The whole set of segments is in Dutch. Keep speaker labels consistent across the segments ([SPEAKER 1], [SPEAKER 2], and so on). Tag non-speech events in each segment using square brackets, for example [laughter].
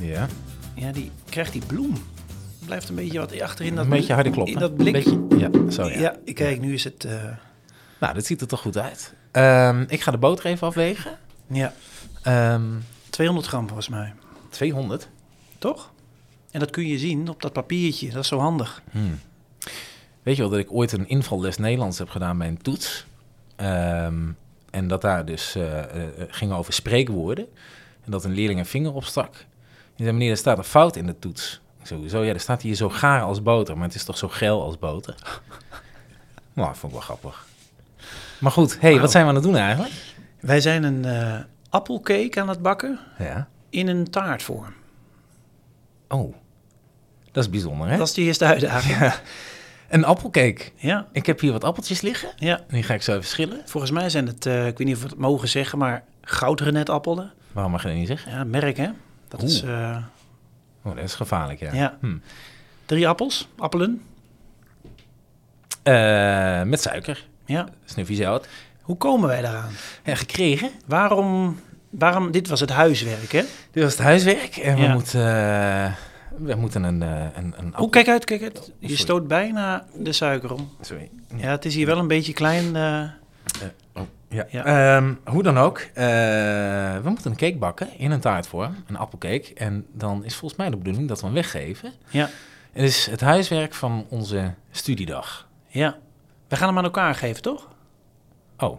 [SPEAKER 1] Ja.
[SPEAKER 2] Ja, die krijgt die bloem. Blijft een beetje wat achterin dat
[SPEAKER 1] Een beetje harde kloppen.
[SPEAKER 2] In dat blik.
[SPEAKER 1] Beetje, ja, zo
[SPEAKER 2] ja.
[SPEAKER 1] ja.
[SPEAKER 2] ik kijk, nu is het. eh,
[SPEAKER 1] Nou, dit ziet er toch goed uit. Ehm, ik ga de boter even afwegen.
[SPEAKER 2] ja,
[SPEAKER 1] Ehm,
[SPEAKER 2] 200 gram volgens mij.
[SPEAKER 1] 200.
[SPEAKER 2] Toch? En dat kun je zien op dat papiertje. Dat is zo handig.
[SPEAKER 1] Weet je wel dat ik ooit een invalles Nederlands heb gedaan bij een toets? Ehm, en dat daar dus eh, eh, ging over spreekwoorden. En dat een leerling een vinger opstak. Die zei, meneer, er staat een fout in de toets. Ik zei, hoezo? Ja, er staat hier zo gaar als boter. Maar het is toch zo geil als boter? [laughs] nou, dat vond ik wel grappig. Maar goed, hey, wat zijn we aan het doen eigenlijk?
[SPEAKER 2] Wij zijn een eh, appelcake aan het bakken
[SPEAKER 1] Ja.
[SPEAKER 2] in een taartvorm.
[SPEAKER 1] Oh, dat is bijzonder, hè?
[SPEAKER 2] Dat is de eerste
[SPEAKER 1] [laughs]
[SPEAKER 2] uitdaging. Ja.
[SPEAKER 1] Een appelcake.
[SPEAKER 2] ja,
[SPEAKER 1] Ik heb hier wat appeltjes liggen. Die ga ik zo even schillen.
[SPEAKER 2] Volgens mij zijn het, eh, ik weet niet of we het mogen zeggen, maar goudrenetappelen.
[SPEAKER 1] Waarom mag je dat niet zeggen?
[SPEAKER 2] Ja, het merk hè. Dat is,
[SPEAKER 1] Oeh.
[SPEAKER 2] eh,
[SPEAKER 1] Oh, dat is gevaarlijk, ja.
[SPEAKER 2] ja.
[SPEAKER 1] Hm.
[SPEAKER 2] Drie appels, appelen.
[SPEAKER 1] Eh, met suiker.
[SPEAKER 2] Ja.
[SPEAKER 1] Snuffie zout.
[SPEAKER 2] Hoe komen wij daaraan?
[SPEAKER 1] En gekregen.
[SPEAKER 2] Waarom, waarom, dit was het huiswerk hè?
[SPEAKER 1] Dit was het huiswerk. En we
[SPEAKER 2] Ja.
[SPEAKER 1] moeten... eh, we moeten een, eh, een, een appel...
[SPEAKER 2] Oh, kijk uit, kijk uit. Je
[SPEAKER 1] sorry.
[SPEAKER 2] stoot bijna de suiker om.
[SPEAKER 1] Sorry.
[SPEAKER 2] Ja, het is hier wel een beetje klein. eh,
[SPEAKER 1] Ja.
[SPEAKER 2] Ja.
[SPEAKER 1] Ehm, hoe dan ook. eh, we moeten een cake bakken in een taartvorm. Een appelcake. En dan is volgens mij de bedoeling dat we hem weggeven.
[SPEAKER 2] ja,
[SPEAKER 1] Het is het huiswerk van onze studiedag.
[SPEAKER 2] ja. We gaan hem aan elkaar geven, toch?
[SPEAKER 1] Oh.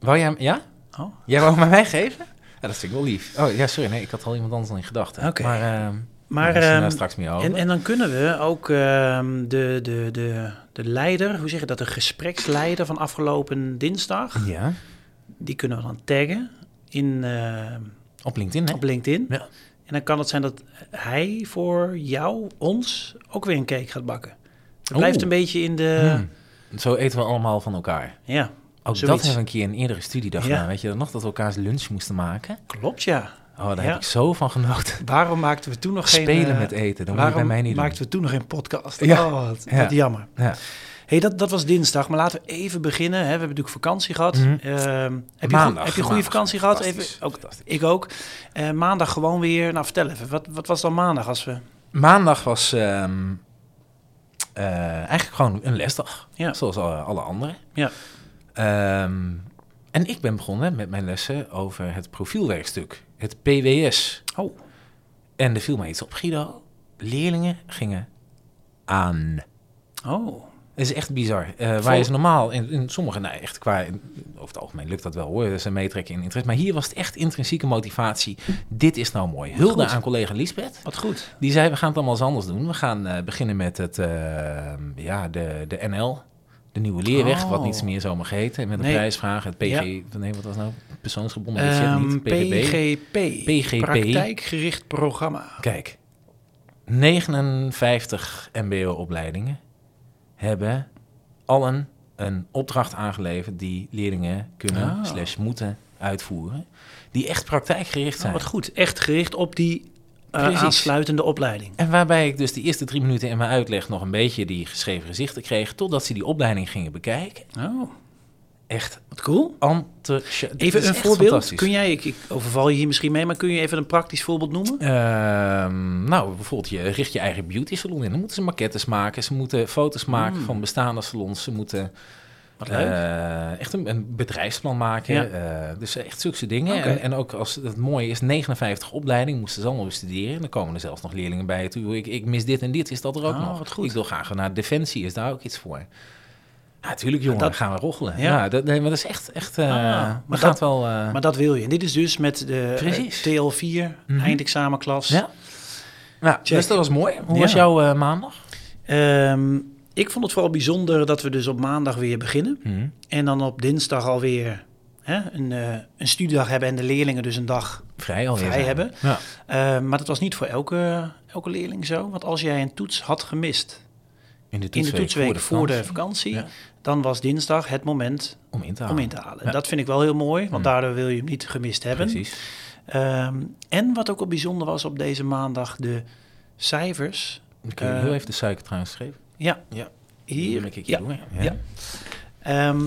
[SPEAKER 1] Wou jij hem... Ja?
[SPEAKER 2] Oh,
[SPEAKER 1] Jij wou hem aan mij geven? Ja, dat vind ik wel lief. Oh ja, sorry. Nee, ik had al iemand anders dan in gedachten.
[SPEAKER 2] Oké.
[SPEAKER 1] Maar, ehm, daar
[SPEAKER 2] maar.
[SPEAKER 1] is het nou
[SPEAKER 2] ehm,
[SPEAKER 1] straks meer over.
[SPEAKER 2] en, en dan kunnen we ook ehm, de, de, de, de leider, hoe zeg je dat, de gespreksleider van afgelopen dinsdag,
[SPEAKER 1] Ja.
[SPEAKER 2] die kunnen we dan taggen in, ehm,
[SPEAKER 1] Op LinkedIn, hè?
[SPEAKER 2] op LinkedIn.
[SPEAKER 1] Ja.
[SPEAKER 2] En dan kan het zijn dat hij voor jou, ons, ook weer een cake gaat bakken. Het
[SPEAKER 1] Oeh.
[SPEAKER 2] blijft een beetje in de.
[SPEAKER 1] Zo eten we allemaal van elkaar.
[SPEAKER 2] Ja,
[SPEAKER 1] Ook dat
[SPEAKER 2] Zoiets.
[SPEAKER 1] hebben we een keer in een eerdere studiedag
[SPEAKER 2] Ja.
[SPEAKER 1] gedaan. Weet je nog dat we elkaars lunch moesten maken?
[SPEAKER 2] klopt ja.
[SPEAKER 1] Oh, daar
[SPEAKER 2] Ja.
[SPEAKER 1] heb ik zo van genoten.
[SPEAKER 2] Waarom maakten we toen nog geen...
[SPEAKER 1] Spelen
[SPEAKER 2] eh,
[SPEAKER 1] met eten, dat moet je
[SPEAKER 2] waarom
[SPEAKER 1] bij mij niet
[SPEAKER 2] maakten we toen nog geen podcast?
[SPEAKER 1] Ja.
[SPEAKER 2] Oh, wat,
[SPEAKER 1] Ja.
[SPEAKER 2] wat jammer.
[SPEAKER 1] doen. Ja.
[SPEAKER 2] hey, dat, dat was dinsdag, maar laten we even beginnen. Hè. We hebben natuurlijk vakantie gehad.
[SPEAKER 1] Mhm.
[SPEAKER 2] Ehm, heb, je,
[SPEAKER 1] Maandag,
[SPEAKER 2] goed- heb je goede
[SPEAKER 1] maandag.
[SPEAKER 2] vakantie gehad? Even,
[SPEAKER 1] Fantastisch,
[SPEAKER 2] ook,
[SPEAKER 1] fantastisch.
[SPEAKER 2] ik ook. Eh, maandag gewoon weer. Nou, vertel even. Wat, wat was dan maandag als we...
[SPEAKER 1] Maandag was ehm, eh, eigenlijk gewoon een lesdag.
[SPEAKER 2] Ja.
[SPEAKER 1] Zoals alle, alle anderen.
[SPEAKER 2] Ja.
[SPEAKER 1] Ehm, en ik ben begonnen met mijn lessen over het profielwerkstuk. Het PWS.
[SPEAKER 2] Oh,
[SPEAKER 1] En er viel mij iets op, Guido. Leerlingen gingen aan.
[SPEAKER 2] oh.
[SPEAKER 1] Dat is echt bizar. Eh,
[SPEAKER 2] Vol-
[SPEAKER 1] waar je ze normaal, in, in sommige, nou echt qua, in- over het algemeen lukt dat wel hoor, dat ze meetrekken in interesse. Maar hier was het echt intrinsieke motivatie. Dit is nou mooi. Hulde
[SPEAKER 2] Goed.
[SPEAKER 1] aan collega Lisbeth.
[SPEAKER 2] Wat goed.
[SPEAKER 1] Die zei, we gaan het allemaal eens anders doen. We gaan eh, beginnen met het, eh, ja, de, de NL. De nieuwe leerweg, wat
[SPEAKER 2] Oh.
[SPEAKER 1] niets meer zo mag heten. Met een
[SPEAKER 2] Nee.
[SPEAKER 1] prijsvraag, het PG... Nee, wat was nou? Persoonsgebonden budget,
[SPEAKER 2] Ehm,
[SPEAKER 1] niet PGB.
[SPEAKER 2] PGP.
[SPEAKER 1] PGP.
[SPEAKER 2] Praktijkgericht programma.
[SPEAKER 1] Kijk, 59 MBO-opleidingen hebben allen een opdracht aangeleverd die leerlingen kunnen
[SPEAKER 2] Ah.
[SPEAKER 1] slash moeten uitvoeren, die echt praktijkgericht
[SPEAKER 2] Nou,
[SPEAKER 1] zijn.
[SPEAKER 2] wat goed. Echt gericht op die eh,
[SPEAKER 1] Precies.
[SPEAKER 2] aansluitende opleiding.
[SPEAKER 1] en waarbij ik dus de eerste drie minuten in mijn uitleg nog een beetje die geschreven gezichten kreeg, totdat ze die opleiding gingen bekijken.
[SPEAKER 2] Oh,
[SPEAKER 1] Echt
[SPEAKER 2] wat cool.
[SPEAKER 1] enthousiast. Het
[SPEAKER 2] Even
[SPEAKER 1] is
[SPEAKER 2] een
[SPEAKER 1] echt
[SPEAKER 2] voorbeeld.
[SPEAKER 1] fantastisch.
[SPEAKER 2] Kun jij, ik, ik overval je hier misschien mee, maar kun je even een praktisch voorbeeld noemen?
[SPEAKER 1] Ehm, nou, bijvoorbeeld, je richt je eigen beauty salon in. Dan moeten ze maquettes maken, ze moeten foto's maken van bestaande salons, ze moeten
[SPEAKER 2] Hmm. Wat leuk.
[SPEAKER 1] Eh, echt een, een bedrijfsplan maken.
[SPEAKER 2] Ja.
[SPEAKER 1] eh, dus echt zulke soort dingen.
[SPEAKER 2] Oké.
[SPEAKER 1] En, en ook als het mooi is, 59 opleidingen moesten ze allemaal bestuderen. En dan komen er zelfs nog leerlingen bij. het, "Oeh, Ik, ik mis dit en dit, is dat er ook
[SPEAKER 2] Ah,
[SPEAKER 1] nog?
[SPEAKER 2] wat goed.
[SPEAKER 1] Ik wil graag naar Defensie, is daar ook iets voor? Ja, tuurlijk jongen,
[SPEAKER 2] dat-
[SPEAKER 1] dan gaan we roggelen.
[SPEAKER 2] Ja.
[SPEAKER 1] Ja, dat, nee, maar dat is echt, echt eh
[SPEAKER 2] Ah,
[SPEAKER 1] maar
[SPEAKER 2] maar
[SPEAKER 1] gaat
[SPEAKER 2] dat-
[SPEAKER 1] wel... eh,
[SPEAKER 2] maar dat wil je. En dit is dus met de eh,
[SPEAKER 1] Precies. Mhm.
[SPEAKER 2] TL4, eindexamenklas.
[SPEAKER 1] ja. Ja,
[SPEAKER 2] Check.
[SPEAKER 1] dus dat was mooi. Hoe
[SPEAKER 2] Ja.
[SPEAKER 1] was jouw eh, maandag?
[SPEAKER 2] Ehm, ik vond het vooral bijzonder dat we dus op maandag weer beginnen.
[SPEAKER 1] Mhm.
[SPEAKER 2] En dan op dinsdag alweer hè, een, eh, een studiedag hebben en de leerlingen dus een dag
[SPEAKER 1] vrij al
[SPEAKER 2] Vrij
[SPEAKER 1] eerder.
[SPEAKER 2] hebben.
[SPEAKER 1] Ja.
[SPEAKER 2] Eh, maar dat was niet voor elke, elke leerling zo. Want als jij een toets had gemist
[SPEAKER 1] In de
[SPEAKER 2] in de
[SPEAKER 1] toetsweek,
[SPEAKER 2] toetsweek voor de
[SPEAKER 1] vakantie.
[SPEAKER 2] vakantie,
[SPEAKER 1] Ja.
[SPEAKER 2] dan was dinsdag het moment
[SPEAKER 1] Om in te halen.
[SPEAKER 2] om in te halen.
[SPEAKER 1] Ja. Mm.
[SPEAKER 2] Dat vind ik wel heel mooi, want daardoor wil je hem niet gemist hebben.
[SPEAKER 1] Precies.
[SPEAKER 2] Ehm, en wat ook al bijzonder was op deze maandag, de cijfers.
[SPEAKER 1] Dan kun je
[SPEAKER 2] Eh,
[SPEAKER 1] heel even de suiker trouwens schrijven.
[SPEAKER 2] Ja,
[SPEAKER 1] Ja.
[SPEAKER 2] hier.
[SPEAKER 1] ik
[SPEAKER 2] ja.
[SPEAKER 1] doen. Ja.
[SPEAKER 2] Ja. Ehm,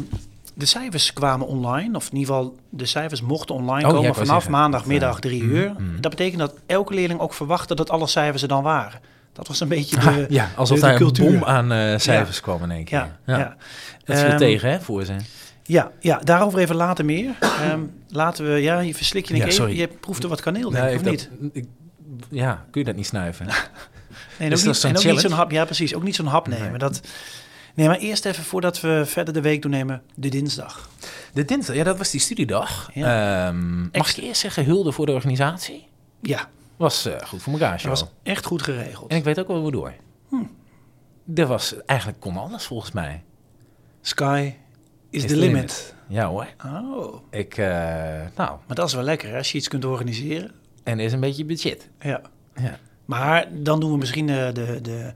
[SPEAKER 2] de cijfers kwamen online, of in ieder geval de cijfers mochten online
[SPEAKER 1] Oh, ja,
[SPEAKER 2] komen
[SPEAKER 1] ik wou
[SPEAKER 2] vanaf
[SPEAKER 1] zeggen,
[SPEAKER 2] maandagmiddag
[SPEAKER 1] dat,
[SPEAKER 2] 3
[SPEAKER 1] mm,
[SPEAKER 2] uur.
[SPEAKER 1] mm.
[SPEAKER 2] Dat betekent dat elke leerling ook verwachtte dat alle cijfers er dan waren. Dat was een
[SPEAKER 1] [laughs]
[SPEAKER 2] beetje de,
[SPEAKER 1] Ah, Ja, alsof
[SPEAKER 2] de- de
[SPEAKER 1] daar een
[SPEAKER 2] cultuur.
[SPEAKER 1] boom aan eh, cijfers kwam in één keer.
[SPEAKER 2] Ja, ja.
[SPEAKER 1] Dat ze er
[SPEAKER 2] Ehm,
[SPEAKER 1] tegen, hè, voor zijn.
[SPEAKER 2] Ja, ja, daarover even later meer. [clears throat] Ehm, laten we, ja, je verslik je denk
[SPEAKER 1] Ja,
[SPEAKER 2] ik even.
[SPEAKER 1] sorry.
[SPEAKER 2] Je proeft er wat kaneel, denk ik,
[SPEAKER 1] ik
[SPEAKER 2] of
[SPEAKER 1] dat-
[SPEAKER 2] niet?
[SPEAKER 1] ik- ja, kun je dat niet snuiven?
[SPEAKER 2] Nee, en
[SPEAKER 1] Dus dat
[SPEAKER 2] ook, niet,
[SPEAKER 1] is zo'n
[SPEAKER 2] en ook niet zo'n
[SPEAKER 1] challenge?
[SPEAKER 2] hap. Ja, precies. Ook niet zo'n hap nemen.
[SPEAKER 1] Nee.
[SPEAKER 2] Dat, nee, maar eerst even voordat we verder de week doornemen, de dinsdag.
[SPEAKER 1] [laughs] De dinsdag, ja, dat was die studiedag. Ehm, mag
[SPEAKER 2] Ex-
[SPEAKER 1] ik eerst zeggen, hulde voor de organisatie?
[SPEAKER 2] Ja,
[SPEAKER 1] Was eh, goed voor elkaar, Hm.
[SPEAKER 2] dat
[SPEAKER 1] show.
[SPEAKER 2] was echt goed geregeld.
[SPEAKER 1] En ik weet ook wel waardoor. Er was, eigenlijk kon alles volgens mij.
[SPEAKER 2] Sky is,
[SPEAKER 1] Is
[SPEAKER 2] the
[SPEAKER 1] the
[SPEAKER 2] limit.
[SPEAKER 1] Ja hoor.
[SPEAKER 2] Oh,
[SPEAKER 1] Ik, eh, nou,
[SPEAKER 2] maar dat is wel lekker hè, als je iets kunt organiseren.
[SPEAKER 1] en er is een beetje budget.
[SPEAKER 2] Ja.
[SPEAKER 1] Ja.
[SPEAKER 2] Maar dan doen we misschien eh, de, de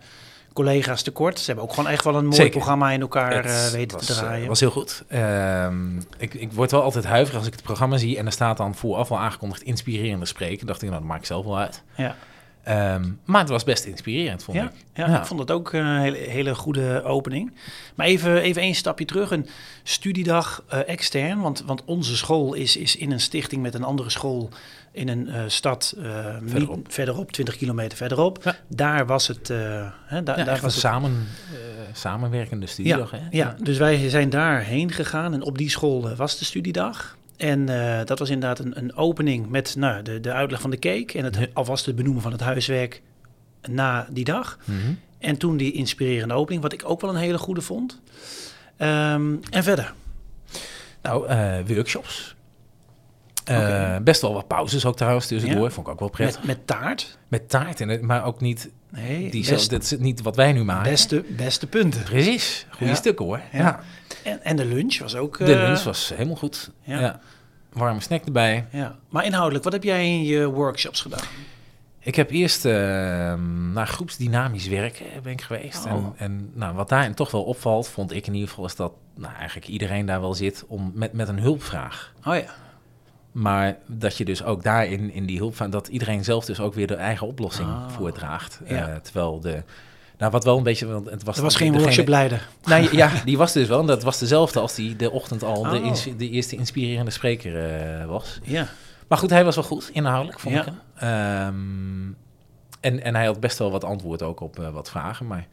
[SPEAKER 2] collega's tekort. Ze hebben ook gewoon echt wel een mooi
[SPEAKER 1] Zeker.
[SPEAKER 2] programma in elkaar
[SPEAKER 1] Het
[SPEAKER 2] eh, weten
[SPEAKER 1] was,
[SPEAKER 2] te draaien.
[SPEAKER 1] eh, was heel goed. Ehm, ik, ik word wel altijd huiverig als ik het programma zie en er staat dan vooraf al aangekondigd inspirerende spreken. dacht ik, nou, dat maakt zelf wel uit.
[SPEAKER 2] ja.
[SPEAKER 1] Ehm, maar het was best inspirerend, vond
[SPEAKER 2] Ja,
[SPEAKER 1] ik.
[SPEAKER 2] ja, ik vond het ook een hele, hele goede opening. Maar even, even een stapje terug. Een studiedag eh, extern. Want, want onze school is, is in een stichting met een andere school in een eh, stad eh, niet-
[SPEAKER 1] Verderop.
[SPEAKER 2] verderop, 20 kilometer verderop.
[SPEAKER 1] Ja.
[SPEAKER 2] Daar was het. eh, hè,
[SPEAKER 1] Ja,
[SPEAKER 2] da- daar
[SPEAKER 1] echt een
[SPEAKER 2] was het.
[SPEAKER 1] samen, eh, samenwerkende
[SPEAKER 2] Ja,
[SPEAKER 1] studiedag, hè?
[SPEAKER 2] ja, dus wij zijn daarheen gegaan en op die school eh, was de studiedag. En eh, dat was inderdaad een, een opening met nou, de, de uitleg van de cake en het, alvast het benoemen van het huiswerk na die dag.
[SPEAKER 1] Mhm.
[SPEAKER 2] En toen die inspirerende opening, wat ik ook wel een hele goede vond. Ehm, en verder.
[SPEAKER 1] Nou, eh, workshops. Eh,
[SPEAKER 2] Oké.
[SPEAKER 1] Best wel wat pauzes ook trouwens tussendoor.
[SPEAKER 2] Ja.
[SPEAKER 1] Vond ik ook wel prettig.
[SPEAKER 2] Met, met taart.
[SPEAKER 1] Met, taart in het, maar ook niet,
[SPEAKER 2] Nee,
[SPEAKER 1] die,
[SPEAKER 2] best-
[SPEAKER 1] dat is niet wat wij nu maken.
[SPEAKER 2] beste, beste punten.
[SPEAKER 1] Precies, goede
[SPEAKER 2] Ja.
[SPEAKER 1] stukken hoor.
[SPEAKER 2] Ja. En, en de lunch was ook...
[SPEAKER 1] De
[SPEAKER 2] eh,
[SPEAKER 1] lunch was helemaal goed.
[SPEAKER 2] ja.
[SPEAKER 1] Ja. Warme snack erbij.
[SPEAKER 2] Ja. Maar inhoudelijk, wat heb jij in je workshops gedaan?
[SPEAKER 1] Ik heb eerst ehm, naar groepsdynamisch werken ben ik geweest.
[SPEAKER 2] Oh.
[SPEAKER 1] En, en nou, wat daarin toch wel opvalt, vond ik in ieder geval, is dat nou, eigenlijk iedereen daar wel zit om, met, met een hulpvraag.
[SPEAKER 2] Oh ja.
[SPEAKER 1] Maar dat je dus ook daarin, in die hulp van, dat iedereen zelf dus ook weer de eigen oplossing
[SPEAKER 2] Ah.
[SPEAKER 1] voordraagt.
[SPEAKER 2] Ja.
[SPEAKER 1] Eh, terwijl de, nou wat wel een beetje, want het was,
[SPEAKER 2] Er was
[SPEAKER 1] dan
[SPEAKER 2] geen
[SPEAKER 1] degene-
[SPEAKER 2] workshop leider.
[SPEAKER 1] Nou ja, die was dus wel, en dat was dezelfde als die de ochtend al de,
[SPEAKER 2] Oh.
[SPEAKER 1] ins- de eerste inspirerende spreker eh, was.
[SPEAKER 2] Ja.
[SPEAKER 1] Maar goed, hij was wel goed inhoudelijk, vond
[SPEAKER 2] Ja.
[SPEAKER 1] ik hem. Ehm, en, en hij had best wel wat antwoord ook op eh, wat vragen, maar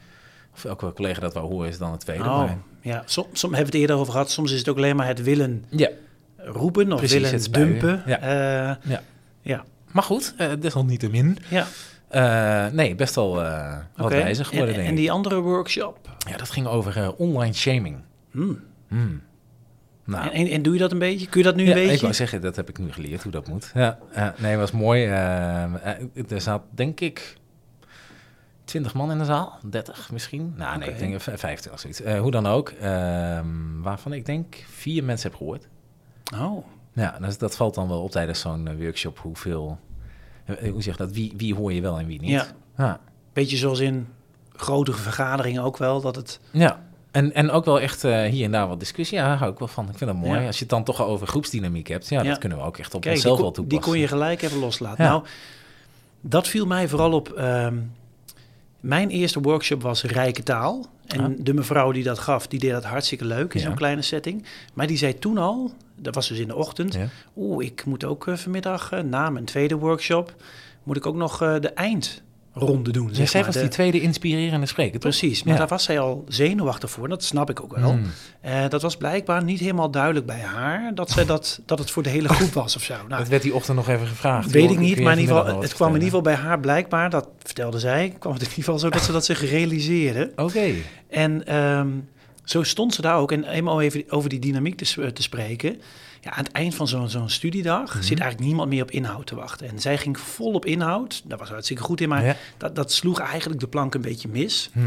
[SPEAKER 1] of elke collega dat wel horen is dan het tweede.
[SPEAKER 2] Oh.
[SPEAKER 1] maar-
[SPEAKER 2] Ja, soms, soms hebben we het eerder over gehad. Soms is het ook alleen maar het willen
[SPEAKER 1] ja.
[SPEAKER 2] roepen of
[SPEAKER 1] Precies, het
[SPEAKER 2] willen
[SPEAKER 1] spuien.
[SPEAKER 2] dumpen.
[SPEAKER 1] Ja.
[SPEAKER 2] Eh,
[SPEAKER 1] Ja.
[SPEAKER 2] ja.
[SPEAKER 1] Maar goed, eh desalniettemin.
[SPEAKER 2] ja.
[SPEAKER 1] Eh nee, best wel eh wat
[SPEAKER 2] Oké.
[SPEAKER 1] wijzig geworden,
[SPEAKER 2] en,
[SPEAKER 1] denk
[SPEAKER 2] en
[SPEAKER 1] ik.
[SPEAKER 2] die andere workshop?
[SPEAKER 1] Ja, dat ging over eh, online shaming.
[SPEAKER 2] Hmm.
[SPEAKER 1] Hmm. Nou,
[SPEAKER 2] En, en, en doe je dat een beetje? Kun je dat nu een
[SPEAKER 1] ja,
[SPEAKER 2] beetje?
[SPEAKER 1] ik wou zeggen, dat heb ik nu geleerd hoe dat moet. Ja, ja, nee, was mooi. Eh, eh, er zat denk ik 20 man in de zaal, 30 misschien. Nou, nee,
[SPEAKER 2] Oké.
[SPEAKER 1] ik denk v- 25 of zoiets. Eh, hoe dan ook, ehm, waarvan ik denk vier mensen heb gehoord.
[SPEAKER 2] Oh.
[SPEAKER 1] Ja, dus dat valt dan wel op tijdens zo'n eh, workshop hoeveel. eh, Hoe zeg je dat? Wie, wie hoor je wel en wie niet?
[SPEAKER 2] Ja.
[SPEAKER 1] ja.
[SPEAKER 2] Beetje zoals in grotere vergaderingen ook wel, dat het...
[SPEAKER 1] Ja, en, en ook wel echt eh, hier en daar wat discussie. Ja, daar hou ik wel van. Ik vind dat mooi.
[SPEAKER 2] Ja.
[SPEAKER 1] Als je het dan toch al over groepsdynamiek hebt, ja,
[SPEAKER 2] Ja.
[SPEAKER 1] dat kunnen we ook echt op
[SPEAKER 2] Kijk, die,
[SPEAKER 1] onszelf
[SPEAKER 2] kon-
[SPEAKER 1] wel
[SPEAKER 2] die
[SPEAKER 1] toepassen.
[SPEAKER 2] kon je gelijk even loslaten.
[SPEAKER 1] Ja.
[SPEAKER 2] Nou, dat viel mij vooral op. ehm, mijn eerste workshop was Rijke Taal. En
[SPEAKER 1] Ja.
[SPEAKER 2] de mevrouw die dat gaf, die deed dat hartstikke leuk in
[SPEAKER 1] Ja.
[SPEAKER 2] zo'n kleine setting. Maar die zei toen al, dat was dus in de ochtend... Oeh, ik moet ook eh, vanmiddag eh, na mijn tweede workshop... moet ik ook nog eh, de eindronde doen,
[SPEAKER 1] Ja.
[SPEAKER 2] zeg
[SPEAKER 1] zij
[SPEAKER 2] maar,
[SPEAKER 1] was
[SPEAKER 2] de-
[SPEAKER 1] die tweede inspirerende spreker, toch?
[SPEAKER 2] Precies, maar
[SPEAKER 1] Ja.
[SPEAKER 2] daar was zij al zenuwachtig voor. en Dat snap ik ook wel.
[SPEAKER 1] Mm.
[SPEAKER 2] Eh, dat was blijkbaar niet helemaal duidelijk bij haar
[SPEAKER 1] [laughs]
[SPEAKER 2] dat, zij dat, dat het voor de hele groep was of zo. Nou,
[SPEAKER 1] Dat werd die ochtend nog even gevraagd.
[SPEAKER 2] weet
[SPEAKER 1] Joh,
[SPEAKER 2] ik
[SPEAKER 1] kun
[SPEAKER 2] niet,
[SPEAKER 1] je
[SPEAKER 2] maar in ieder
[SPEAKER 1] vanmiddag
[SPEAKER 2] geval,
[SPEAKER 1] nog
[SPEAKER 2] het
[SPEAKER 1] wat
[SPEAKER 2] kwam in ieder
[SPEAKER 1] vertellen?
[SPEAKER 2] geval bij haar blijkbaar, dat vertelde zij, kwam het in ieder geval zo dat ze dat zich realiseerde.
[SPEAKER 1] Oké.
[SPEAKER 2] En ehm, zo stond ze daar ook. En eenmaal even over die dynamiek te, s- eh, te spreken. Ja, aan het eind van zo'n zo'n studiedag
[SPEAKER 1] Mhm.
[SPEAKER 2] zit eigenlijk niemand meer op inhoud te wachten. En zij ging vol op inhoud. Daar was ze hartstikke goed in, maar
[SPEAKER 1] Ja.
[SPEAKER 2] dat, dat sloeg eigenlijk de plank een beetje mis.
[SPEAKER 1] Hmm.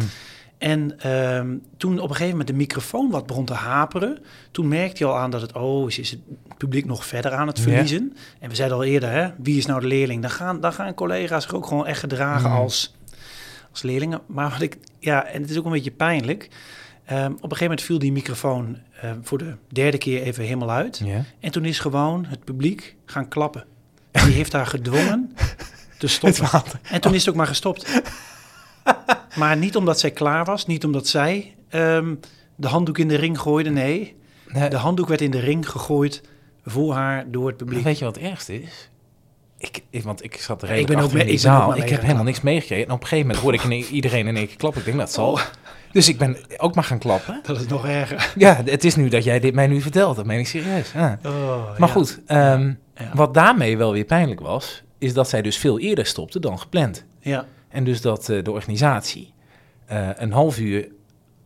[SPEAKER 2] En ehm, toen op een gegeven moment de microfoon wat begon te haperen, toen merkte hij al aan dat het, oh, is, is het publiek nog verder aan het
[SPEAKER 1] Ja.
[SPEAKER 2] verliezen. En we zeiden al eerder, hè, wie is nou de leerling? Dan gaan, dan gaan collega's zich ook gewoon echt gedragen
[SPEAKER 1] Mhm.
[SPEAKER 2] als, als leerlingen. Maar wat ik, ja, en het is ook een beetje pijnlijk. Ehm, op een gegeven moment viel die microfoon ehm, voor de derde keer even helemaal uit.
[SPEAKER 1] Ja.
[SPEAKER 2] En toen is gewoon het publiek gaan klappen. En die heeft haar
[SPEAKER 1] [laughs]
[SPEAKER 2] gedwongen te
[SPEAKER 1] Het
[SPEAKER 2] stoppen.
[SPEAKER 1] water.
[SPEAKER 2] En toen is [laughs] het ook maar [laughs] gestopt. Maar niet omdat zij klaar was, niet omdat zij ehm, de handdoek in de ring gooide. Nee,
[SPEAKER 1] Nee,
[SPEAKER 2] de handdoek werd in de ring gegooid voor haar door het publiek.
[SPEAKER 1] Weet je wat het ergste is? Ik, ik- want ik zat redelijk
[SPEAKER 2] ben ook
[SPEAKER 1] achter in die
[SPEAKER 2] mee- ik ben ook
[SPEAKER 1] zaal.
[SPEAKER 2] maar
[SPEAKER 1] Ik
[SPEAKER 2] mee
[SPEAKER 1] heb
[SPEAKER 2] gaan
[SPEAKER 1] helemaal niks meegekregen. En op een gegeven moment hoorde ik in één- iedereen in één keer klappen. Ik denk, dat zal.
[SPEAKER 2] Oh.
[SPEAKER 1] Dus ik ben ook maar gaan klappen.
[SPEAKER 2] Dat is nog erger.
[SPEAKER 1] Ja, het is nu dat jij dit mij nu vertelt. Dat meen ik serieus. Ja.
[SPEAKER 2] Oh,
[SPEAKER 1] Maar
[SPEAKER 2] ja.
[SPEAKER 1] goed, ehm,
[SPEAKER 2] Ja.
[SPEAKER 1] wat daarmee wel weer pijnlijk was... is dat zij dus veel eerder stopte dan gepland.
[SPEAKER 2] Ja,
[SPEAKER 1] En dus dat eh, de organisatie eh, een half uur...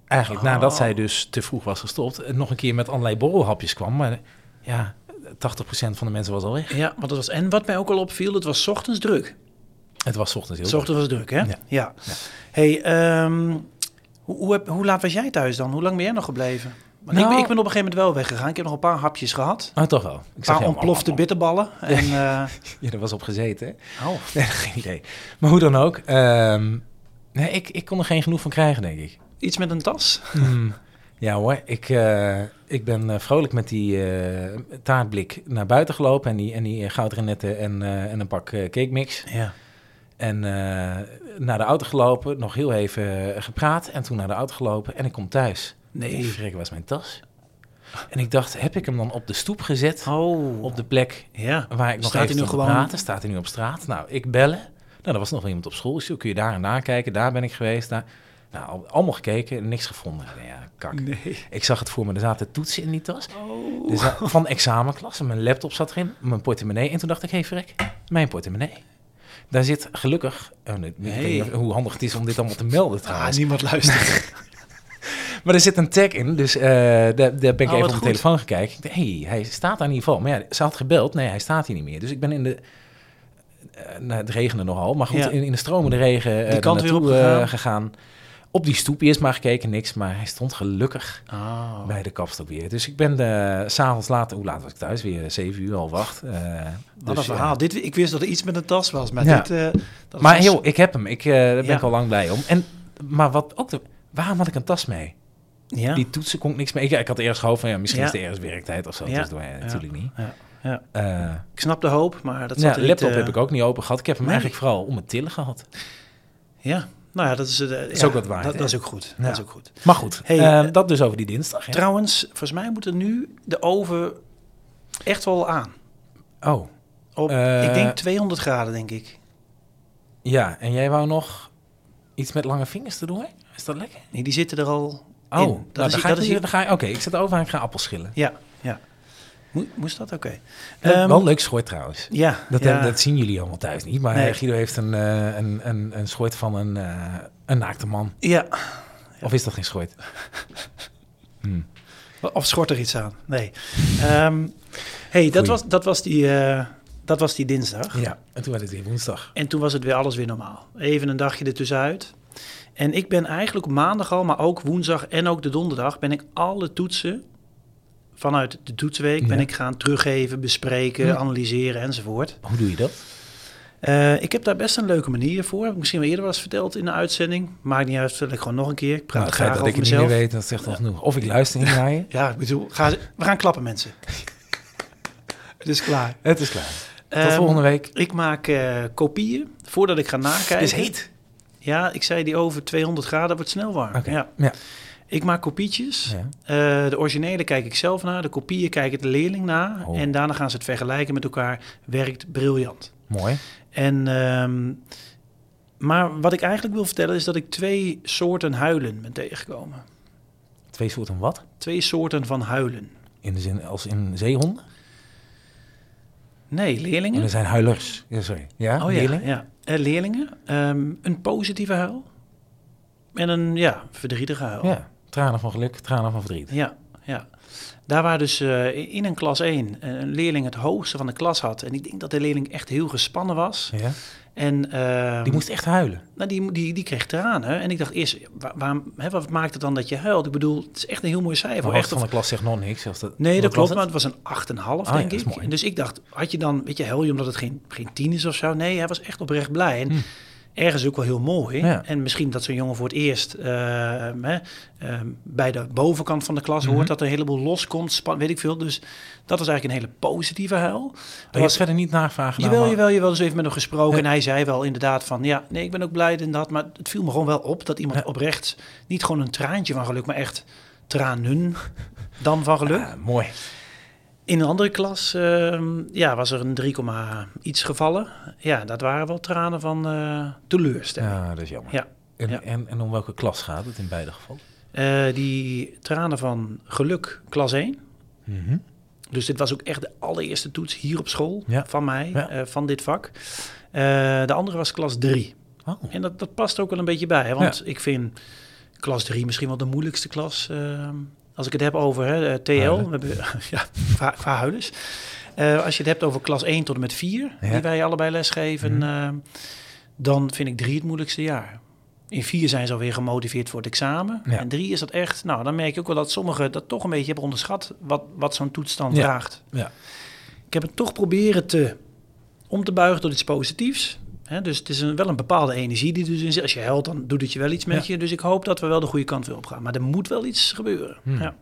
[SPEAKER 1] eigenlijk
[SPEAKER 2] Oh.
[SPEAKER 1] nadat zij dus te vroeg was gestopt... eh, nog een keer met allerlei borrelhapjes kwam. Maar eh, ja, 80% van de mensen was al weg.
[SPEAKER 2] ja want dat was, en wat mij ook al opviel, het was 's ochtends druk.
[SPEAKER 1] Het was 's ochtends heel
[SPEAKER 2] S ochtends was druk, hè?
[SPEAKER 1] Ja.
[SPEAKER 2] Ja. hey, ehm, hoe, hoe, heb- hoe laat was jij thuis dan? Hoe lang ben jij nog gebleven? Want ik,
[SPEAKER 1] Nou-
[SPEAKER 2] ben, ik ben op een gegeven moment wel weggegaan. Ik heb nog een paar hapjes gehad.
[SPEAKER 1] Ah, toch wel.
[SPEAKER 2] Een
[SPEAKER 1] Ik
[SPEAKER 2] paar
[SPEAKER 1] ja,
[SPEAKER 2] ontplofte
[SPEAKER 1] man,
[SPEAKER 2] bitterballen. En, eh,
[SPEAKER 1] man. Ja, er was op gezeten. hè? [laughs]
[SPEAKER 2] oh,
[SPEAKER 1] Nee, geen idee. Maar hoe dan ook. ehm, nee, ik, ik kon er geen genoeg van krijgen, denk ik.
[SPEAKER 2] iets met een tas.
[SPEAKER 1] Hmm. [laughs] Ja hoor, ik, eh, ik ben eh, vrolijk met die eh, taartblik naar buiten gelopen. En die, en die eh, goudrenetten en, eh, en een pak eh, cake mix.
[SPEAKER 2] Ja.
[SPEAKER 1] En eh, naar de auto gelopen, nog heel even eh, gepraat. En toen naar de auto gelopen en ik kom thuis.
[SPEAKER 2] Nee.
[SPEAKER 1] Nee, verrek, waar is mijn tas? En ik dacht, heb ik hem dan op de stoep gezet?
[SPEAKER 2] Oh.
[SPEAKER 1] Op de plek
[SPEAKER 2] ja.
[SPEAKER 1] Waar ik nog
[SPEAKER 2] Staat
[SPEAKER 1] staat
[SPEAKER 2] hij nu
[SPEAKER 1] even gewoon...
[SPEAKER 2] gewoon-
[SPEAKER 1] praten, staat hij nu op straat. Nou, ik bellen. Nou, er was nog wel iemand op school. Dus joh, kun je daar en daar kijken? Daar ben ik geweest. Daar. Nou, al- allemaal gekeken en niks gevonden. Nou ja, kak.
[SPEAKER 2] Nee. Dus-
[SPEAKER 1] Ik zag het voor me. Er zaten toetsen in die tas. Er za- Dus van examenklassen. Mijn laptop zat erin. Mijn portemonnee. En toen dacht ik, hé hey, verrek, mijn portemonnee. Daar zit gelukkig... oh, nee, Ik weet niet
[SPEAKER 2] Nee.
[SPEAKER 1] of- hoe handig het is om dit allemaal te
[SPEAKER 2] Ah,
[SPEAKER 1] melden trouwens.
[SPEAKER 2] niemand
[SPEAKER 1] [laughs]
[SPEAKER 2] luistert.
[SPEAKER 1] Maar er zit een tag in, dus eh, daar, daar ben ik
[SPEAKER 2] Oh, wat
[SPEAKER 1] even op mijn
[SPEAKER 2] goed.
[SPEAKER 1] telefoon gekeken. Ik dacht, hey, hij staat daar in ieder geval. Maar ja, ze had gebeld. Nee, hij staat hier niet meer. Dus ik ben in de... eh, nou, het regende nogal, maar goed,
[SPEAKER 2] Ja.
[SPEAKER 1] in, in de stromende regen eh,
[SPEAKER 2] Die
[SPEAKER 1] daar
[SPEAKER 2] kant weer
[SPEAKER 1] naartoe, eh,
[SPEAKER 2] opgegaan.
[SPEAKER 1] gegaan. Op die stoep eerst maar gekeken, niks. Maar hij stond gelukkig
[SPEAKER 2] Oh.
[SPEAKER 1] bij de kapstok weer. Dus ik ben eh, s s'avonds laat, hoe laat was ik thuis? Weer zeven uur, half acht. eh, dus,
[SPEAKER 2] Wat een
[SPEAKER 1] ja.
[SPEAKER 2] verhaal. Dit, ik wist dat er iets met een tas was, maar
[SPEAKER 1] Ja.
[SPEAKER 2] dit... eh, dat
[SPEAKER 1] Maar
[SPEAKER 2] was-
[SPEAKER 1] heel, ik heb hem. Ik, eh, daar ben
[SPEAKER 2] Ja.
[SPEAKER 1] ik al lang blij om. En, maar wat ook... De, waarom had ik een tas mee?
[SPEAKER 2] Ja.
[SPEAKER 1] Die toetsen kon ik niks mee. Ik, ik had eerst gehoopt van ja, misschien
[SPEAKER 2] Ja.
[SPEAKER 1] is het ergens werktijd of zo.
[SPEAKER 2] Ja.
[SPEAKER 1] Dus doe je natuurlijk niet.
[SPEAKER 2] Ja. Ja.
[SPEAKER 1] Eh,
[SPEAKER 2] Ik snap de hoop, maar dat
[SPEAKER 1] nou,
[SPEAKER 2] zat
[SPEAKER 1] de
[SPEAKER 2] er niet,
[SPEAKER 1] laptop
[SPEAKER 2] eh,
[SPEAKER 1] heb ik ook niet open gehad. Ik heb hem
[SPEAKER 2] nee.
[SPEAKER 1] eigenlijk vooral om het tillen gehad.
[SPEAKER 2] Ja. Nou ja, dat is... eh, ja,
[SPEAKER 1] is ook wat waard,
[SPEAKER 2] Dat,
[SPEAKER 1] hè?
[SPEAKER 2] dat is ook goed.
[SPEAKER 1] Ja.
[SPEAKER 2] Dat is ook goed.
[SPEAKER 1] Maar goed,
[SPEAKER 2] Hey,
[SPEAKER 1] eh,
[SPEAKER 2] eh,
[SPEAKER 1] dat dus over die dinsdag. hè.
[SPEAKER 2] Trouwens, volgens mij moet er nu de oven echt wel aan.
[SPEAKER 1] Oh,
[SPEAKER 2] Op,
[SPEAKER 1] Eh,
[SPEAKER 2] ik denk 200 graden, denk ik.
[SPEAKER 1] ja. En jij wou nog iets met lange vingers te doen, hè? Is dat lekker?
[SPEAKER 2] Nee, die zitten er al
[SPEAKER 1] Oh,
[SPEAKER 2] in.
[SPEAKER 1] nou, dan,
[SPEAKER 2] is,
[SPEAKER 1] ga
[SPEAKER 2] dat
[SPEAKER 1] ik
[SPEAKER 2] is
[SPEAKER 1] hier, dan ga ik... Oké, ik zet over en ik ga appels schillen.
[SPEAKER 2] Ja, ja. Mo- Moest dat? Oké.
[SPEAKER 1] Wel-
[SPEAKER 2] Ehm,
[SPEAKER 1] Eh, wel leuk schort trouwens.
[SPEAKER 2] ja,
[SPEAKER 1] Dat,
[SPEAKER 2] ja.
[SPEAKER 1] dat zien jullie allemaal thuis niet. Maar
[SPEAKER 2] Nee.
[SPEAKER 1] Guido heeft een, eh, een, een, een schort van een, eh, een naakte man.
[SPEAKER 2] ja.
[SPEAKER 1] Of is dat geen schort?
[SPEAKER 2] Of schort er iets aan? Nee. Ehm, hey, dat
[SPEAKER 1] Goeie.
[SPEAKER 2] was, dat, was die, eh, dat was die dinsdag.
[SPEAKER 1] Ja. En toen werd het weer woensdag.
[SPEAKER 2] En toen was het weer alles weer normaal. Even een dagje ertussenuit. En ik ben eigenlijk op maandag al, maar ook woensdag en ook de donderdag... ben ik alle toetsen vanuit de toetsweek... ben
[SPEAKER 1] Ja.
[SPEAKER 2] ik gaan teruggeven, bespreken,
[SPEAKER 1] Hm.
[SPEAKER 2] analyseren enzovoort.
[SPEAKER 1] Hoe doe je dat?
[SPEAKER 2] Eh, ik heb daar best een leuke manier voor. Heb ik misschien wel eerder wel eens verteld in de uitzending. Maakt niet uit, vertel ik gewoon nog een keer. Ik praat
[SPEAKER 1] Nou, het feit
[SPEAKER 2] graag
[SPEAKER 1] dat ik
[SPEAKER 2] over
[SPEAKER 1] het niet meer
[SPEAKER 2] mezelf.
[SPEAKER 1] weet, dat zegt al genoeg. Of ik luister niet naar je.
[SPEAKER 2] Ja, ik bedoel, ga, we gaan klappen mensen. het is klaar.
[SPEAKER 1] [laughs] Het is klaar. Tot
[SPEAKER 2] Ehm,
[SPEAKER 1] volgende week.
[SPEAKER 2] Ik maak eh, kopieën voordat ik ga nakijken.
[SPEAKER 1] Het is heet.
[SPEAKER 2] Ja, ik zei die over 200 graden wordt snel warm.
[SPEAKER 1] Oké.
[SPEAKER 2] Ja.
[SPEAKER 1] Ja.
[SPEAKER 2] Ik maak kopietjes.
[SPEAKER 1] Ja.
[SPEAKER 2] Eh, de originele kijk ik zelf naar. De kopieën kijken de leerling na.
[SPEAKER 1] Oh.
[SPEAKER 2] En daarna gaan ze het vergelijken met elkaar. Werkt briljant.
[SPEAKER 1] Mooi.
[SPEAKER 2] En, ehm, maar wat ik eigenlijk wil vertellen is dat ik twee soorten huilen ben tegengekomen.
[SPEAKER 1] Twee soorten wat?
[SPEAKER 2] Twee soorten van huilen.
[SPEAKER 1] In de zin als in zeehonden.
[SPEAKER 2] Nee,
[SPEAKER 1] En
[SPEAKER 2] leerlingen.
[SPEAKER 1] er zijn huilers. Ja, sorry. Ja,
[SPEAKER 2] Oh ja,
[SPEAKER 1] leerling?
[SPEAKER 2] ja. Eh, leerlingen. Ehm, een positieve huil. En een ja, verdrietige huil.
[SPEAKER 1] Ja. Tranen van geluk, tranen van verdriet.
[SPEAKER 2] Ja, ja. Daar waar dus eh, in een klas 1 een leerling het hoogste van de klas had. En ik denk dat de leerling echt heel gespannen was.
[SPEAKER 1] Ja.
[SPEAKER 2] En, ehm,
[SPEAKER 1] Die moest echt huilen.
[SPEAKER 2] nou, die, die, die kreeg tranen. En ik dacht eerst, waar, waarom- hè, wat maakt het dan dat je huilt? Ik bedoel, het is echt een heel mooi cijfer.
[SPEAKER 1] Maar
[SPEAKER 2] echt
[SPEAKER 1] echt van de klas zegt nog niks. Als dat,
[SPEAKER 2] Nee,
[SPEAKER 1] wat
[SPEAKER 2] dat
[SPEAKER 1] was
[SPEAKER 2] klopt,
[SPEAKER 1] het?
[SPEAKER 2] maar het was een 8,5 denk
[SPEAKER 1] ja, dat is
[SPEAKER 2] ik.
[SPEAKER 1] mooi.
[SPEAKER 2] En dus ik dacht, had je dan, weet je, hel je omdat het geen, geen 10 is of zo? Nee, hij was echt oprecht blij. En ergens ook wel heel mooi.
[SPEAKER 1] Hmm. Ja.
[SPEAKER 2] En misschien dat zo'n jongen voor het eerst eh, hè, eh, bij de bovenkant van de klas
[SPEAKER 1] Mhm.
[SPEAKER 2] hoort dat er een heleboel loskomt, span, weet ik veel. Dus dat was eigenlijk een hele positieve huil.
[SPEAKER 1] Oh,
[SPEAKER 2] Er
[SPEAKER 1] je hebt
[SPEAKER 2] was,
[SPEAKER 1] verder niet navragen gedaan,
[SPEAKER 2] jawel,
[SPEAKER 1] maar-
[SPEAKER 2] jawel, jawel. Dus even met hem gesproken.
[SPEAKER 1] Ja.
[SPEAKER 2] En hij zei wel inderdaad van, ja, nee, ik ben ook blij en dat. Maar het viel me gewoon wel op dat iemand
[SPEAKER 1] Ja.
[SPEAKER 2] oprecht niet gewoon een traantje van geluk, maar echt tranen dan van geluk.
[SPEAKER 1] Ah, mooi.
[SPEAKER 2] In een andere klas ehm, ja, was er een 3, komma iets gevallen. Ja, dat waren wel tranen van eh, teleurstelling.
[SPEAKER 1] Ja, dat is jammer.
[SPEAKER 2] Ja.
[SPEAKER 1] En,
[SPEAKER 2] Ja.
[SPEAKER 1] En, en om welke klas gaat het in beide gevallen?
[SPEAKER 2] Eh, die tranen van geluk, klas 1. Dus dit was ook echt de allereerste toets hier op school
[SPEAKER 1] Ja.
[SPEAKER 2] van mij,
[SPEAKER 1] Ja.
[SPEAKER 2] eh, van dit vak. Eh, de andere was klas 3.
[SPEAKER 1] Oh.
[SPEAKER 2] En dat, dat past ook wel een beetje bij. Hè? Want ik vind klas 3 misschien wel de moeilijkste klas. ehm, als ik het heb over hè, eh, TL,
[SPEAKER 1] Huilen.
[SPEAKER 2] we hebben, [laughs] ja, qua, qua huilers. Eh, als je het hebt over klas 1 tot en met 4,
[SPEAKER 1] Ja.
[SPEAKER 2] die wij allebei lesgeven,
[SPEAKER 1] Mhm.
[SPEAKER 2] ehm, dan vind ik 3 het moeilijkste jaar. In 4 zijn ze alweer gemotiveerd voor het examen.
[SPEAKER 1] Ja.
[SPEAKER 2] En 3 is dat echt, nou dan merk je ook wel dat sommigen dat toch een beetje hebben onderschat, wat, wat zo'n toets dan
[SPEAKER 1] Ja.
[SPEAKER 2] vraagt.
[SPEAKER 1] Ja.
[SPEAKER 2] Ik heb het toch proberen te om te buigen tot iets positiefs. Hè, dus het is een, wel een bepaalde energie die er dus in zit. Als je huilt, dan doet het je wel iets met je. Dus ik hoop dat we wel de goede kant weer op gaan. Maar er moet wel iets gebeuren.
[SPEAKER 1] Hmm.
[SPEAKER 2] Ja.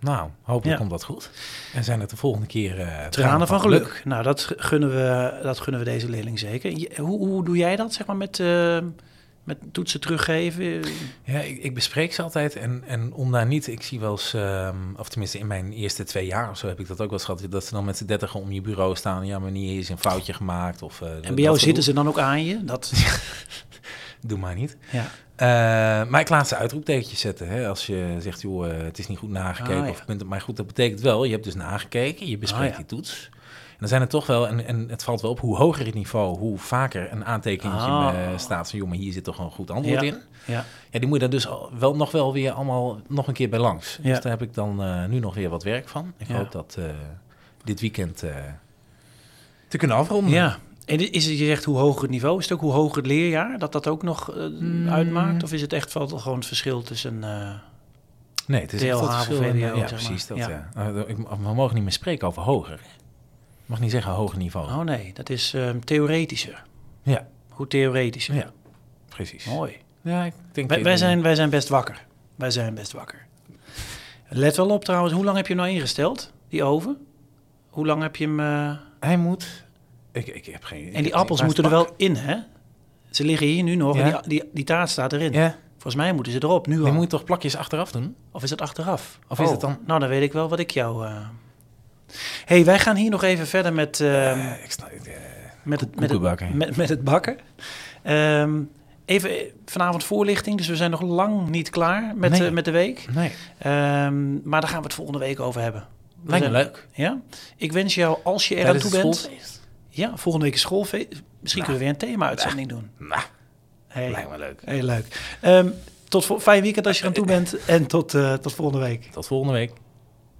[SPEAKER 1] Nou, hopelijk
[SPEAKER 2] Ja.
[SPEAKER 1] komt dat goed. En zijn het de volgende keer eh, tranen,
[SPEAKER 2] Tranen van geluk. Nou, dat g- gunnen, we, dat gunnen we deze leerling zeker. Je- hoe, hoe doe jij dat, zeg maar, met, eh, met toetsen teruggeven?
[SPEAKER 1] Ja, ik, ik bespreek ze altijd. En, en om daar niet, ik zie wel eens, ehm, of tenminste in mijn eerste twee jaar of zo heb ik dat ook wel eens gehad. Dat ze dan met z'n dertigen om je bureau staan. Ja, maar niet is een foutje gemaakt. Of, eh,
[SPEAKER 2] En bij jou
[SPEAKER 1] dat gedoe.
[SPEAKER 2] zitten ze dan ook aan je? Dat,
[SPEAKER 1] Doe maar niet.
[SPEAKER 2] [laughs] ja.
[SPEAKER 1] Eh, maar ik laat ze uitroeptekentjes zetten. Hè? Als je zegt, joh, eh, het is niet goed nagekeken.
[SPEAKER 2] Ah, ja.
[SPEAKER 1] of je bent het maar goed, dat betekent wel, je hebt dus nagekeken. Je bespreekt
[SPEAKER 2] Ah, ja.
[SPEAKER 1] die toets. En dan zijn er toch wel, en, en het valt wel op, hoe hoger het niveau, hoe vaker een aantekening
[SPEAKER 2] Ah.
[SPEAKER 1] staat. Van, joh, maar hier zit toch een goed antwoord
[SPEAKER 2] Ja.
[SPEAKER 1] in.
[SPEAKER 2] ja.
[SPEAKER 1] Ja, die moet je dan dus al- wel, nog wel weer allemaal nog een keer bij langs.
[SPEAKER 2] Ja.
[SPEAKER 1] Dus daar heb ik dan eh, nu nog weer wat werk van. Ik
[SPEAKER 2] Ja.
[SPEAKER 1] hoop dat eh, dit weekend eh, te kunnen afronden.
[SPEAKER 2] Ja. En is het, je zegt hoe hoger het niveau, is het ook hoe hoger het leerjaar? Dat dat ook nog eh, uitmaakt? Of is het echt wel gewoon het verschil tussen... eh,
[SPEAKER 1] Nee, het is echt
[SPEAKER 2] DLH
[SPEAKER 1] dat verschil. in,
[SPEAKER 2] of
[SPEAKER 1] eh,
[SPEAKER 2] VWO,
[SPEAKER 1] ja,
[SPEAKER 2] zeg
[SPEAKER 1] precies. Dat,
[SPEAKER 2] maar.
[SPEAKER 1] ja. Eh, ik- we mogen niet meer spreken over hoger. Ik mag niet zeggen hoger niveau.
[SPEAKER 2] Oh nee, dat is ehm, theoretischer.
[SPEAKER 1] Ja,
[SPEAKER 2] Hoe theoretischer.
[SPEAKER 1] ja, precies.
[SPEAKER 2] Mooi.
[SPEAKER 1] Ja, ik denk
[SPEAKER 2] Wij, wij zijn, wij zijn best wakker. Wij zijn best wakker. Let wel op trouwens, hoe lang heb je hem nou ingesteld, die oven? Hoe lang heb je hem... eh,
[SPEAKER 1] Hij moet... Ik, ik heb geen...
[SPEAKER 2] En die appels moeten er wel in, hè? Ze liggen hier nu nog en
[SPEAKER 1] Ja.
[SPEAKER 2] die, die, die taart staat erin.
[SPEAKER 1] Ja,
[SPEAKER 2] Volgens mij moeten ze erop, nu
[SPEAKER 1] dan
[SPEAKER 2] al.
[SPEAKER 1] moet je toch plakjes achteraf doen?
[SPEAKER 2] Of is dat achteraf?
[SPEAKER 1] Of is het dan-
[SPEAKER 2] Nou, dan weet ik wel wat ik jou... eh, hey, wij gaan hier nog even verder met... ehm,
[SPEAKER 1] Eh, ik snap het, eh,
[SPEAKER 2] Met het, met, het,
[SPEAKER 1] koekenbakken.
[SPEAKER 2] met, met het bakken. Ehm, even eh, vanavond voorlichting, dus we zijn nog lang niet klaar met,
[SPEAKER 1] Nee.
[SPEAKER 2] eh, met de week.
[SPEAKER 1] Nee,
[SPEAKER 2] Ehm, maar daar gaan we het volgende week over hebben. We
[SPEAKER 1] lijkt me
[SPEAKER 2] zijn-
[SPEAKER 1] leuk.
[SPEAKER 2] Ja? Ik wens jou, als je er aan
[SPEAKER 1] Tijdens
[SPEAKER 2] toe
[SPEAKER 1] het
[SPEAKER 2] bent...
[SPEAKER 1] schoolfeest.
[SPEAKER 2] Ja, volgende week is schoolfeest. Misschien kunnen we weer een thema-uitzending doen.
[SPEAKER 1] Nou,
[SPEAKER 2] Hey.
[SPEAKER 1] lijkt me leuk.
[SPEAKER 2] Heel leuk. Ehm, tot vol- fijn weekend als je er aan toe bent. En tot, eh, tot volgende week.
[SPEAKER 1] Tot volgende week.